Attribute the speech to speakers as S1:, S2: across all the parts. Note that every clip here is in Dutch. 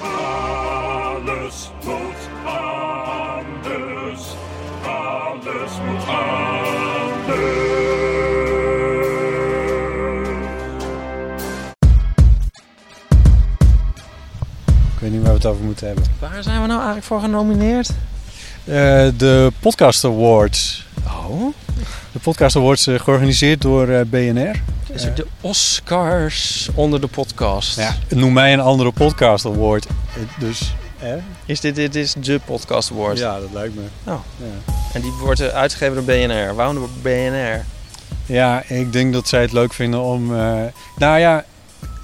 S1: Alles moet anders. Alles moet anders.
S2: Ik weet niet waar we het over moeten hebben.
S3: Waar zijn we nou eigenlijk voor genomineerd?
S2: Eh, de Podcast Awards.
S3: Oh,
S2: De Podcast Awards eh, georganiseerd door eh, BNR.
S3: dus de Oscars onder de podcast.
S2: Nou ja, noem mij een andere Podcast Award. Eh, Dus, hè?
S3: Is dit, dit is de podcast award.
S2: Ja, dat lijkt me.
S3: En die wordt eh, uitgegeven door BNR. Waarom door BNR?
S2: Ja, ik denk dat zij het leuk vinden om... eh, nou ja,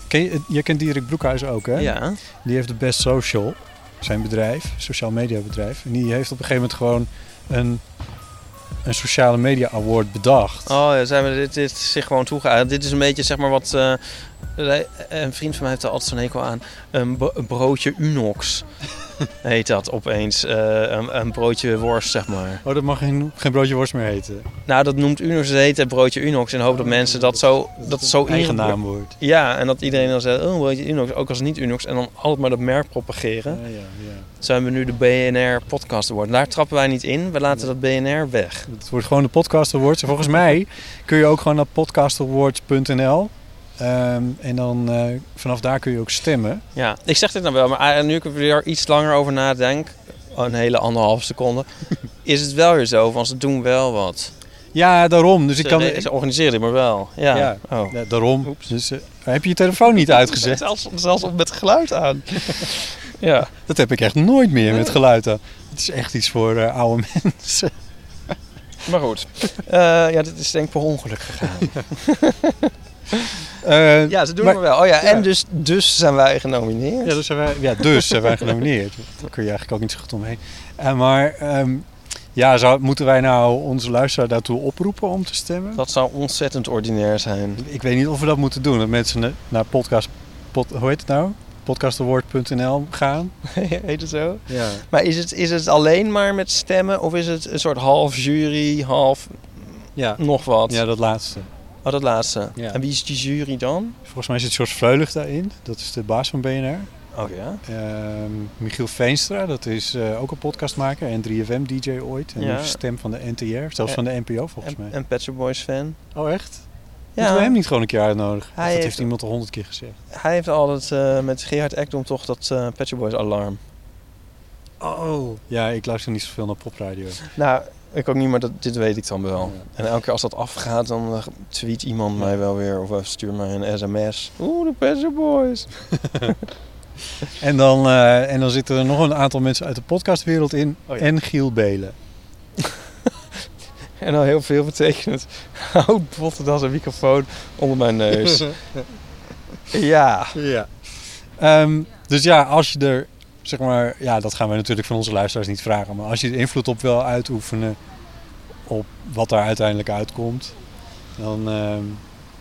S2: ken je, je kent Dirk Broekhuis ook, hè?
S3: Ja.
S2: Die heeft de Best Social, zijn bedrijf, sociaal media bedrijf. En die heeft op een gegeven moment gewoon een, een sociale media award bedacht.
S3: Oh, ja, zijn we dit, dit is zich gewoon toegeëigend. Dit is een beetje zeg maar wat... eh, wij- een vriend van mij heeft er altijd zo'n hekel aan. Een, bro- een broodje Unox heet dat opeens. Eh, een, een broodje worst, zeg maar.
S2: Oh, dat mag geen, geen broodje worst meer heten.
S3: Nou, dat noemt Unox. Het heet het broodje Unox. En hoop dat mensen dat zo... Dat zo
S2: Eigen
S3: ingebracht-
S2: naam wordt.
S3: Ja, en dat iedereen dan zegt, oh, weet je, Unox, ook als het niet Unox. En dan altijd maar dat merk propageren.
S2: Ja, ja, ja.
S3: Zijn we nu de BNR Podcast Award. Daar trappen wij niet in, we laten dat BNR weg.
S2: Het wordt gewoon de Podcast Awards. En volgens mij kun je ook gewoon naar podcastawards.nl. Ehm, en dan eh, vanaf daar kun je ook stemmen.
S3: Ja, ik zeg dit nou wel, maar eigenlijk nu ik er weer iets langer over nadenk, oh, een hele anderhalve seconde, is het wel weer zo, van ze doen wel wat.
S2: Ja, daarom. Dus ik kan...
S3: Ze, ze organiseren dit maar wel. Ja.
S2: Ja.
S3: Oh.
S2: Ja, daarom. Dus, eh, heb je je telefoon niet uitgezet?
S3: Zelfs, zelfs met geluid aan. ja.
S2: Dat heb ik echt nooit meer met geluid aan. Het is echt iets voor eh, oude mensen.
S3: Maar goed. Eh, ja, dit is denk ik per ongeluk gegaan.
S2: Eh,
S3: Ja, ze doen
S2: Maar-
S3: het maar wel. Oh ja,
S2: Ja.
S3: en dus, dus zijn wij genomineerd.
S2: Ja, dus zijn wij, ja, dus zijn wij genomineerd. Daar kun je eigenlijk ook niet zo goed omheen. Eh, maar ehm, ja, zou, moeten wij nou onze luisteraar daartoe oproepen om te stemmen?
S3: Dat zou ontzettend ordinair zijn.
S2: Ik weet niet of we dat moeten doen. Dat mensen na- naar podcast... pod- hoe heet het nou? Podcastaward.nl gaan.
S3: Heet het zo?
S2: Ja.
S3: Maar is het, is het alleen maar met stemmen of is het een soort half jury, half
S2: Ja.
S3: nog wat?
S2: ja, dat laatste.
S3: Oh, dat laatste.
S2: Ja.
S3: En wie is die jury dan?
S2: Volgens mij zit George Vreulig daarin. Dat is de baas van BNR.
S3: Oh ja.
S2: Ehm, Michiel Veenstra, dat is eh, ook een podcastmaker en 3FM-dj ooit. En
S3: Ja.
S2: nu stem van de NTR, zelfs van
S3: En-
S2: de NPO volgens
S3: En,
S2: mij.
S3: en Pet Shop Boys fan.
S2: oh, echt? Moeten we
S3: Ja,
S2: hem niet gewoon een keer uitnodigen? Of
S3: Hij
S2: dat heeft,
S3: heeft-
S2: iemand al honderd keer gezegd.
S3: hij heeft altijd eh, met Gerard Ekdom toch dat eh Pet Shop Boys alarm.
S2: Oh. Ja, ik luister niet zoveel naar popradio.
S3: Nou, ik ook niet, maar dat, dit weet ik dan wel.
S2: Ja.
S3: En elke keer als dat afgaat, dan eh, tweet iemand mij wel weer of eh, stuur mij een sms. Oeh, de Pet Shop Boys.
S2: En dan, eh, en dan zitten er nog een aantal mensen uit de podcastwereld in.
S3: Oh ja.
S2: En Giel Belen.
S3: En al heel veel betekent houd botten als een microfoon onder mijn neus. ja.
S2: Ja. Ehm, dus ja, als je er, zeg maar, ja, dat gaan wij natuurlijk van onze luisteraars niet vragen. Maar als je er invloed op wil uitoefenen, op wat daar uiteindelijk uitkomt, dan, ehm,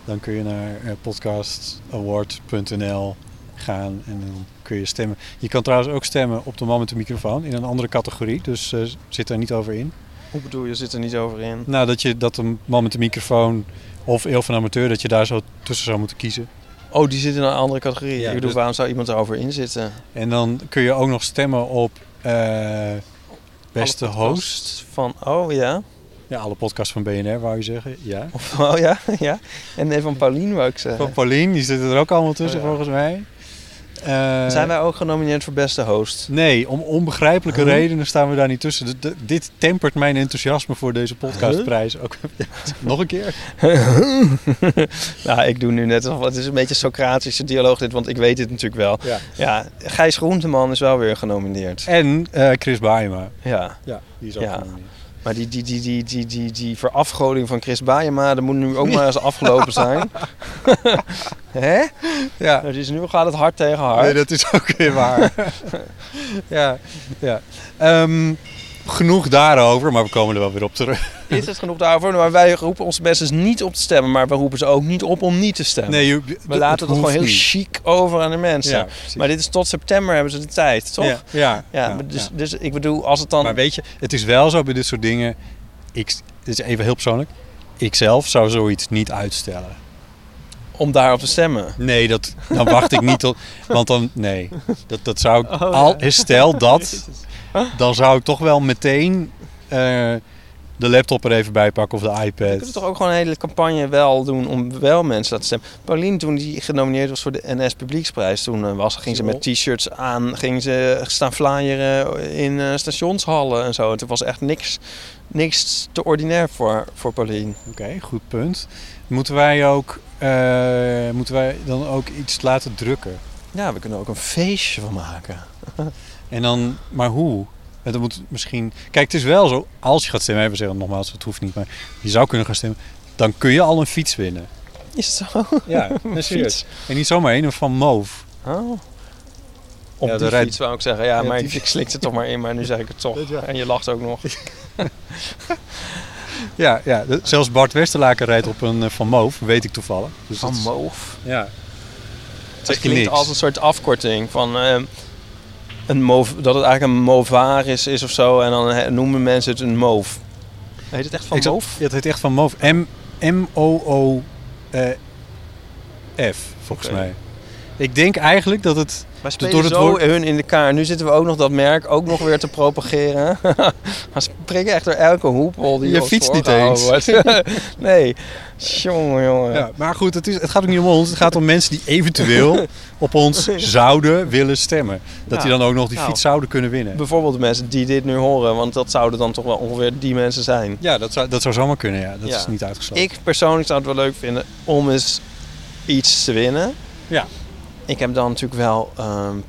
S2: dan kun je naar eh, podcastaward.nl gaan en dan kun je stemmen. Je kan trouwens ook stemmen op de man met de microfoon in een andere categorie, dus eh, zit daar niet over in.
S3: Hoe bedoel je, zit er niet over in?
S2: Nou, dat, je, dat de man met de microfoon of Eel van Amateur, dat je daar zo tussen zou moeten kiezen.
S3: Oh, die zit in een andere categorie.
S2: Ja,
S3: ik bedoel,
S2: dus-
S3: waarom zou iemand daarover in zitten?
S2: En dan kun je ook nog stemmen op eh, beste
S3: Alle
S2: host.
S3: podcasts Van, oh ja.
S2: Ja, alle podcasts van BNR wou je zeggen. Ja.
S3: Of, oh ja, ja. En nee, van Paulien wou ik zeggen.
S2: Van Paulien, die zitten er ook allemaal tussen
S3: Oh ja.
S2: volgens mij. Eh,
S3: Zijn wij ook genomineerd voor beste host?
S2: Nee, om onbegrijpelijke
S3: Huh?
S2: redenen staan we daar niet tussen. De- de- dit tempert mijn enthousiasme voor deze podcastprijs ook. Nog een keer.
S3: nou, ik doe nu net alsof het is een beetje Socratische dialoog dit, want ik weet dit natuurlijk wel.
S2: Ja.
S3: Ja, Gijs Groenteman is wel weer genomineerd.
S2: En eh, Chris Baaema.
S3: Ja,
S2: Ja, die is
S3: ook
S2: ook
S3: Ja. maar die, die, die, die, die, die, die verafgoding van Chris Baaienma, dat moet nu ook maar eens afgelopen zijn. Hè?
S2: Ja,
S3: Dus nu gaat het hard tegen hard.
S2: nee, dat is ook weer waar. ja, ja. Ehm, genoeg daarover, maar we komen er wel weer op terug.
S3: Is het genoeg daarvoor? Maar wij roepen onze mensen niet op te stemmen, maar we roepen ze ook niet op om niet te stemmen.
S2: Nee, je-
S3: we laten het
S2: hoeft
S3: gewoon heel
S2: niet.
S3: chic over aan de mensen.
S2: Ja, precies.
S3: maar dit is tot september hebben ze de tijd, toch?
S2: Ja, ja,
S3: Ja,
S2: ja,
S3: maar dus,
S2: ja.
S3: dus ik bedoel, als het dan...
S2: Maar weet je, het is wel zo bij dit soort dingen. Ik, dit is even heel persoonlijk. Ik zelf zou zoiets niet uitstellen.
S3: om daarop te stemmen.
S2: Nee, dat, dan wacht ik niet tot. Want dan, nee, dat, dat zou
S3: Oh,
S2: ik. al, Stel dat, dan zou ik toch wel meteen eh, de laptop er even bij pakken of de
S3: We kunnen
S2: iPad.
S3: toch ook gewoon een hele campagne wel doen om wel mensen te laten stemmen. Pauline, toen die genomineerd was voor de NS Publieksprijs, toen eh, was, ging ze met t-shirts aan, ging ze staan flyeren in eh, stationshallen en zo. En toen was echt niks, niks te ordinair voor, voor Pauline.
S2: Oké, goed punt. Moeten wij, ook, eh, moeten wij dan ook iets laten drukken?
S3: Ja, we kunnen er ook een feestje van maken.
S2: En dan, maar hoe? En dan moet misschien. Kijk, het is wel zo. Als je gaat stemmen, even zeggen nogmaals, het hoeft niet, maar je zou kunnen gaan stemmen. Dan kun je al een fiets winnen.
S3: Is het zo?
S2: Ja, een fiets. En niet zomaar een, een van Moof.
S3: Oh. Op
S2: Ja, de
S3: de die
S2: rij-
S3: fiets wou ik zeggen. Ja,
S2: Ja,
S3: maar
S2: die
S3: ik, ik slikte het toch maar in, maar nu zeg ik het toch. En je lacht ook nog.
S2: Ja, ja. de- Zelfs Bart Westerlaken rijdt op een eh, Van Moof, weet ik toevallig. Dus
S3: Van
S2: dat is-
S3: Moof.
S2: Ja.
S3: Het
S2: Zeg je
S3: klinkt
S2: niks.
S3: als een soort afkorting van ehm, een mov, dat het eigenlijk een movaris is of zo. En dan he- noemen mensen het een moof. Heet het echt van
S2: Ik zat-
S3: moof?
S2: Ja, het heet echt Van Moof. M- M-O-O-F, volgens
S3: Oké.
S2: mij. Ik denk eigenlijk dat het...
S3: Wij spelen
S2: door het
S3: zo
S2: woord-
S3: hun in de kaart. Nu zitten we ook nog dat merk ook nog weer te propageren. maar ze prikken echt door elke hoepel die
S2: Je
S3: ons
S2: fietst niet
S3: voorgehouden wordt. nee. Jongen, jongen.
S2: Ja, maar goed, het, is, het gaat ook niet om ons. Het gaat om mensen die eventueel op ons zouden willen stemmen. Dat
S3: Ja.
S2: die dan ook nog die
S3: Nou.
S2: fiets zouden kunnen winnen.
S3: Bijvoorbeeld de mensen die dit nu horen. Want dat zouden dan toch wel ongeveer die mensen zijn.
S2: Ja, dat zou, dat zou zomaar kunnen, ja. Dat
S3: Ja.
S2: is niet uitgesloten.
S3: Ik persoonlijk zou het wel leuk vinden om eens iets te winnen.
S2: Ja.
S3: Ik heb dan natuurlijk wel ehm, een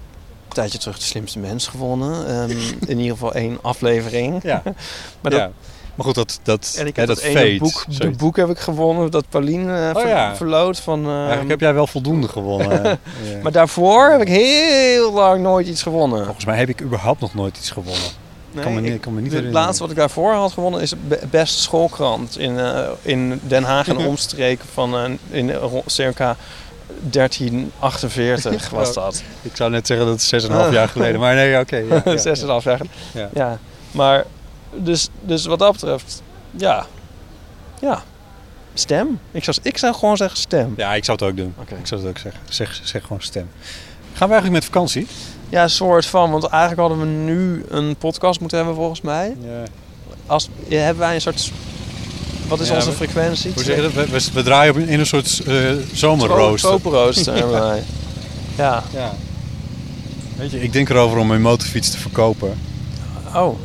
S3: tijdje terug de slimste mens gewonnen. Ehm, in ieder geval één aflevering.
S2: Ja.
S3: Maar
S2: Maar,
S3: dat-
S2: ja. maar goed, dat, dat,
S3: En ik
S2: hè,
S3: heb dat,
S2: dat
S3: ene
S2: feit,
S3: boek, de
S2: zoiets.
S3: boek heb ik gewonnen dat Pauline eh,
S2: Oh
S3: ver-
S2: ja.
S3: verloot van. ehm,
S2: Eigenlijk heb jij wel voldoende gewonnen. eh, Ja.
S3: Maar daarvoor heb ik heel lang nooit iets gewonnen.
S2: Volgens mij heb ik überhaupt nog nooit iets gewonnen.
S3: Nee,
S2: Oh, kan me niet-
S3: ik-
S2: kan me niet
S3: Het
S2: herinneren.
S3: laatste wat ik daarvoor had gewonnen is be- best schoolkrant in, eh, in Den Haag en omstreken van eh, in ro- circa 1348 was dat.
S2: Ik zou net zeggen dat het 6,5 jaar geleden. Maar nee, oké. ja, ja, ja.
S3: Zes en een half jaar.
S2: Ja.
S3: Ja, maar dus, dus wat dat betreft, ja, ja, stem. Ik zou, ik zou gewoon zeggen stem.
S2: Ja, ik zou het ook doen.
S3: Oké.
S2: Ik zou het ook zeggen. Zeg, zeg gewoon stem. Gaan we eigenlijk met vakantie?
S3: Ja, soort van, want eigenlijk hadden we nu een podcast moeten hebben volgens mij.
S2: Ja.
S3: Als, ja, hebben wij een soort, wat is
S2: Ja,
S3: onze
S2: we-
S3: frequentie?
S2: Hoe zeg je dat? We, we, we draaien op een- in een soort eh zomerrooster.
S3: Tropenrooster hebben wij. Ja.
S2: Ja. Weet je, ik denk erover om mijn motorfiets te verkopen.
S3: Oh,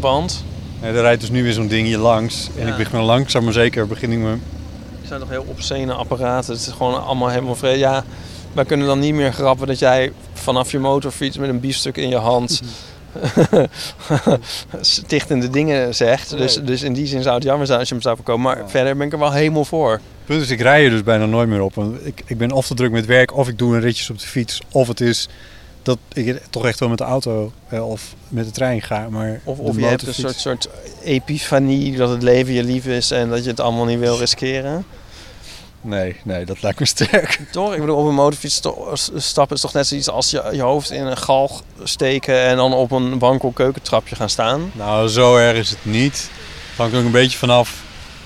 S3: want?
S2: En er rijdt dus nu weer zo'n ding hier langs. En
S3: Ja.
S2: ik begin langzaam maar zeker begin ik me...
S3: Er zijn toch heel obscene apparaten. Het is gewoon allemaal helemaal vreemd. Ja, wij kunnen dan niet meer grappen dat jij vanaf je motorfiets met een biefstuk in je hand... stichtende dingen zegt. Dus, dus in die zin zou het jammer zijn als je hem zou verkopen. Maar verder ben ik er wel helemaal voor.
S2: Punt is, ik rij er dus bijna nooit meer op. Want ik, ik ben of te druk met werk, of ik doe een ritjes op de fiets. Of het is dat ik toch echt wel met de auto eh, of met de trein ga. Maar
S3: Of,
S2: de
S3: of je hebt een soort,
S2: motorfiets-
S3: soort epifanie dat het leven je lief is... en dat je het allemaal niet wil riskeren.
S2: Nee, nee, dat lijkt me sterk.
S3: Toch? Ik bedoel, op een motorfiets sto- s- stappen is toch net zoiets als je, je hoofd in een galg steken en dan op een wankel keukentrapje gaan staan.
S2: Nou, zo erg is het niet. Het hangt ook een beetje vanaf.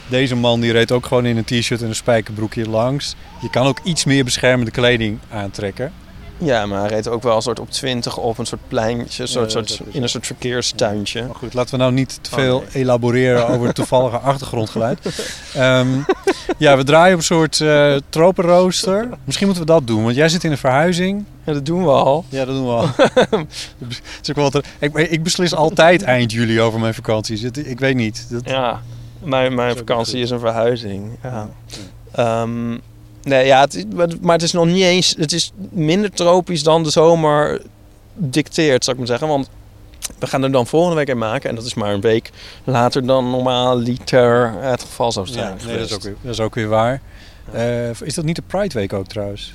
S2: Deze man die reed ook gewoon in een t-shirt en een spijkerbroekje langs. Je kan ook iets meer beschermende kleding aantrekken.
S3: Ja, maar hij reed ook wel een soort op 20 op een soort pleintje, een soort,
S2: Ja, dat
S3: soort,
S2: is
S3: in een soort verkeerstuintje.
S2: Maar goed, laten we nou niet te
S3: Oh,
S2: veel
S3: nee.
S2: elaboreren over het toevallige achtergrondgeluid. Ehm, ja, we draaien op een soort eh tropenrooster. Misschien moeten we dat doen, want jij zit in een verhuizing.
S3: Ja, dat doen we al.
S2: Ja, dat doen we al. Dat is ook wel wat er- ik, ik beslis altijd eind juli over mijn vakanties. Het- ik weet niet. Dat,
S3: Ja, mijn, mijn
S2: Zo
S3: vakantie
S2: goed.
S3: is een verhuizing. Ja. Ehm, nee, ja, het, is- maar- maar het is nog niet eens. Het is minder tropisch dan de zomer dicteert, zou ik maar zeggen. Want we gaan er dan volgende week in maken. En dat is maar een week later dan normaal liter het geval zou zijn.
S2: ja, nee, dat, is
S3: geweest.
S2: ook weer, dat is ook weer waar. Eh, is dat niet de Pride Week ook trouwens?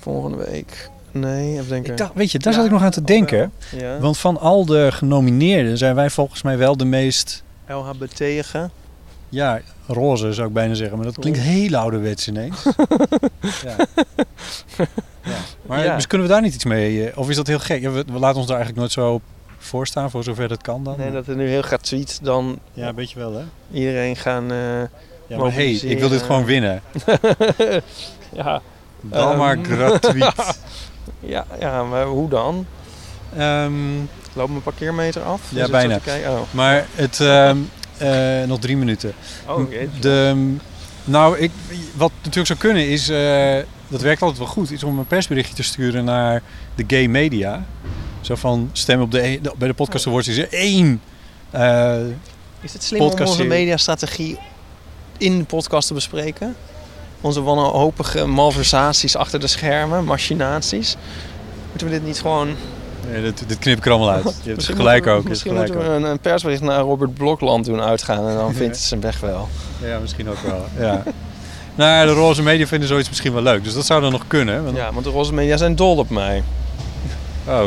S3: Volgende week. Nee, even denken.
S2: Ik dacht, weet je, daar zat ik nog aan te denken.
S3: ja.
S2: Want van al de genomineerden zijn wij volgens mij wel de meest...
S3: LHBT. -ige.
S2: Ja, roze zou ik bijna zeggen. Maar dat klinkt heel ouderwets ineens. ja. Ja. Maar
S3: Ja.
S2: dus kunnen we daar niet iets mee? eh, Of is dat heel gek? Ja, we, we laten ons daar eigenlijk nooit zo op voorstaan, voor zover dat kan dan.
S3: Nee, dat er nu heel gratuit dan
S2: Ja, een beetje wel hè?
S3: iedereen gaan. eh,
S2: Ja, maar hey, ik wil dit
S3: Mobiliseren.
S2: gewoon winnen.
S3: ja,
S2: Dan
S3: Ehm.
S2: maar gratuit.
S3: ja, ja, maar hoe dan?
S2: Ehm,
S3: Loop mijn parkeermeter af?
S2: Ja,
S3: Is het
S2: bijna.
S3: zo te kijken? Oh,
S2: maar het... ehm, eh, nog drie minuten.
S3: oh oké.
S2: De, nou, ik, wat natuurlijk zou kunnen is, eh, dat werkt altijd wel goed, is om een persberichtje te sturen naar de gay media. Zo van stem op de, e- bij de podcast awards is er één. eh,
S3: Is het slim om onze
S2: Podcastserie.
S3: mediastrategie in de podcast te bespreken? Onze wanhopige malversaties achter de schermen, machinaties. Moeten we dit niet gewoon...
S2: nee, dit, dit knip ik er allemaal uit. Je hebt
S3: Misschien
S2: gelijk
S3: moeten we-
S2: ook. Je hebt
S3: Misschien
S2: gelijk
S3: moeten we
S2: ook.
S3: een, een persbericht naar Robert Blokland doen uitgaan... en dan vindt ze zijn weg wel.
S2: Ja, misschien ook wel. Ja. Nou, de roze media vinden zoiets misschien wel leuk. Dus dat zou dan nog kunnen. want-
S3: Ja, want de roze media zijn dol op mij.
S2: Oh.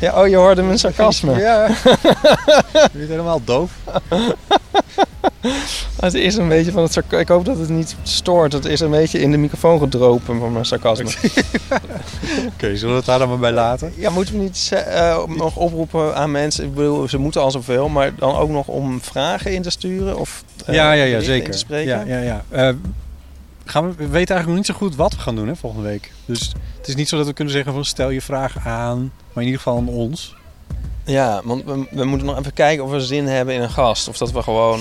S3: Ja, oh, je hoorde mijn sarcasme.
S2: Ja. Je bent helemaal doof.
S3: Het is een beetje van het sarca- Ik hoop dat het niet stoort. Het is een beetje in de microfoon gedropen van mijn sarcasme.
S2: Oké, zullen we het daar dan maar bij laten?
S3: Ja, moeten we niet ze- eh, nog oproepen aan mensen? Ik bedoel, ze moeten al zoveel, maar dan ook nog om vragen in te sturen? Of, eh,
S2: ja, ja, ja,
S3: berichten In
S2: zeker.
S3: te spreken?
S2: Ja, ja, ja. Eh, gaan we, we weten eigenlijk nog niet zo goed wat we gaan doen hè, volgende week. Dus het is niet zo dat we kunnen zeggen van stel je vraag aan, maar in ieder geval aan ons.
S3: Ja, want we, we moeten nog even kijken of we zin hebben in een gast. Of dat we gewoon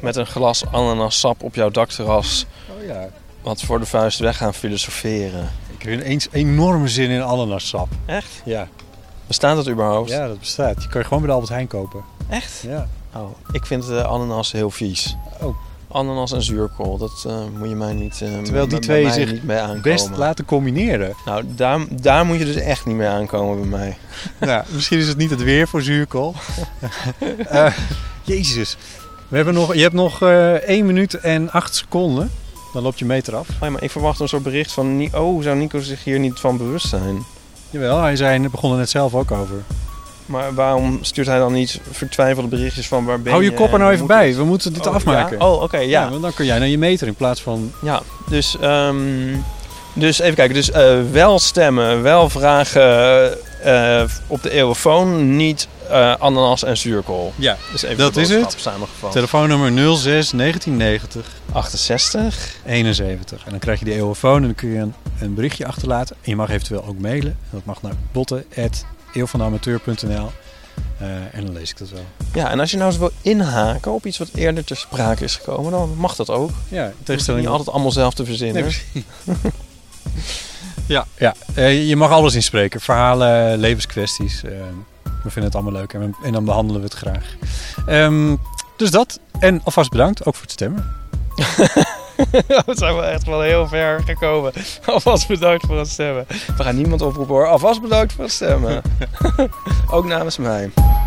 S3: met een glas ananassap op jouw dakterras
S2: Oh ja.
S3: wat voor de vuist weg gaan filosoferen.
S2: Ik heb ineens enorme zin in ananassap.
S3: Echt?
S2: Ja.
S3: Bestaat dat überhaupt?
S2: ja, dat bestaat. Je kan je gewoon bij de Albert Heijn kopen.
S3: Echt?
S2: Ja.
S3: Oh, ik vind eh, ananas heel vies.
S2: Oh.
S3: Ananas en zuurkool, dat eh, moet je mij niet... eh,
S2: Terwijl die
S3: bij
S2: twee
S3: mij
S2: zich
S3: niet mee aankomen.
S2: Best laten combineren.
S3: Nou, daar, daar moet je dus echt niet mee aankomen bij mij.
S2: nou, misschien is het niet het weer voor zuurkool. Eh, jezus. We hebben nog, je hebt nog eh 1 minuut en 8 seconden. Dan loopt je meter af.
S3: Oh ja, maar ik verwacht een soort bericht van... Ni- Oh, zou Nico zich hier niet van bewust zijn?
S2: Jawel, hij zei, begon er net zelf ook over.
S3: Maar waarom stuurt hij dan niet vertwijfelde berichtjes van... Waar ben
S2: Hou je
S3: je
S2: kop er
S3: en
S2: nou
S3: hoe
S2: even
S3: moet
S2: bij.
S3: het?
S2: We moeten dit
S3: Oh,
S2: afmaken.
S3: ja? Oh, oké, ja. ja.
S2: want dan kun jij naar je meter in plaats van...
S3: Dus, ehm, dus even kijken. Dus eh, wel stemmen, wel vragen eh, op de eeuwenfoon. Niet eh, ananas en zuurkool.
S2: Ja,
S3: Dus even
S2: dat
S3: de
S2: is
S3: boodschap
S2: het.
S3: samengevat.
S2: Telefoonnummer 06 1990
S3: 68.
S2: 71. En dan krijg je de eeuwenfoon en dan kun je een, een berichtje achterlaten. En je mag eventueel ook mailen. En dat mag naar botten.eeuwvanamateur.nl Eh, En dan lees ik dat wel.
S3: Ja, en als je nou eens wil inhaken op iets wat eerder ter sprake is gekomen... dan mag dat ook.
S2: Ja, in
S3: Je hoeft het
S2: tegenstelling...
S3: niet altijd allemaal zelf te
S2: Nee,
S3: verzinnen.
S2: precies. ja, ja. Eh, je mag alles inspreken. Verhalen, levenskwesties. Eh, we vinden het allemaal leuk en, we- en dan behandelen we het graag. Ehm, dus dat. En alvast bedankt, ook voor het stemmen.
S3: We zijn wel echt wel heel ver gekomen. Alvast bedankt voor het stemmen. We gaan niemand oproepen hoor. Alvast bedankt voor het stemmen. Ook namens mij.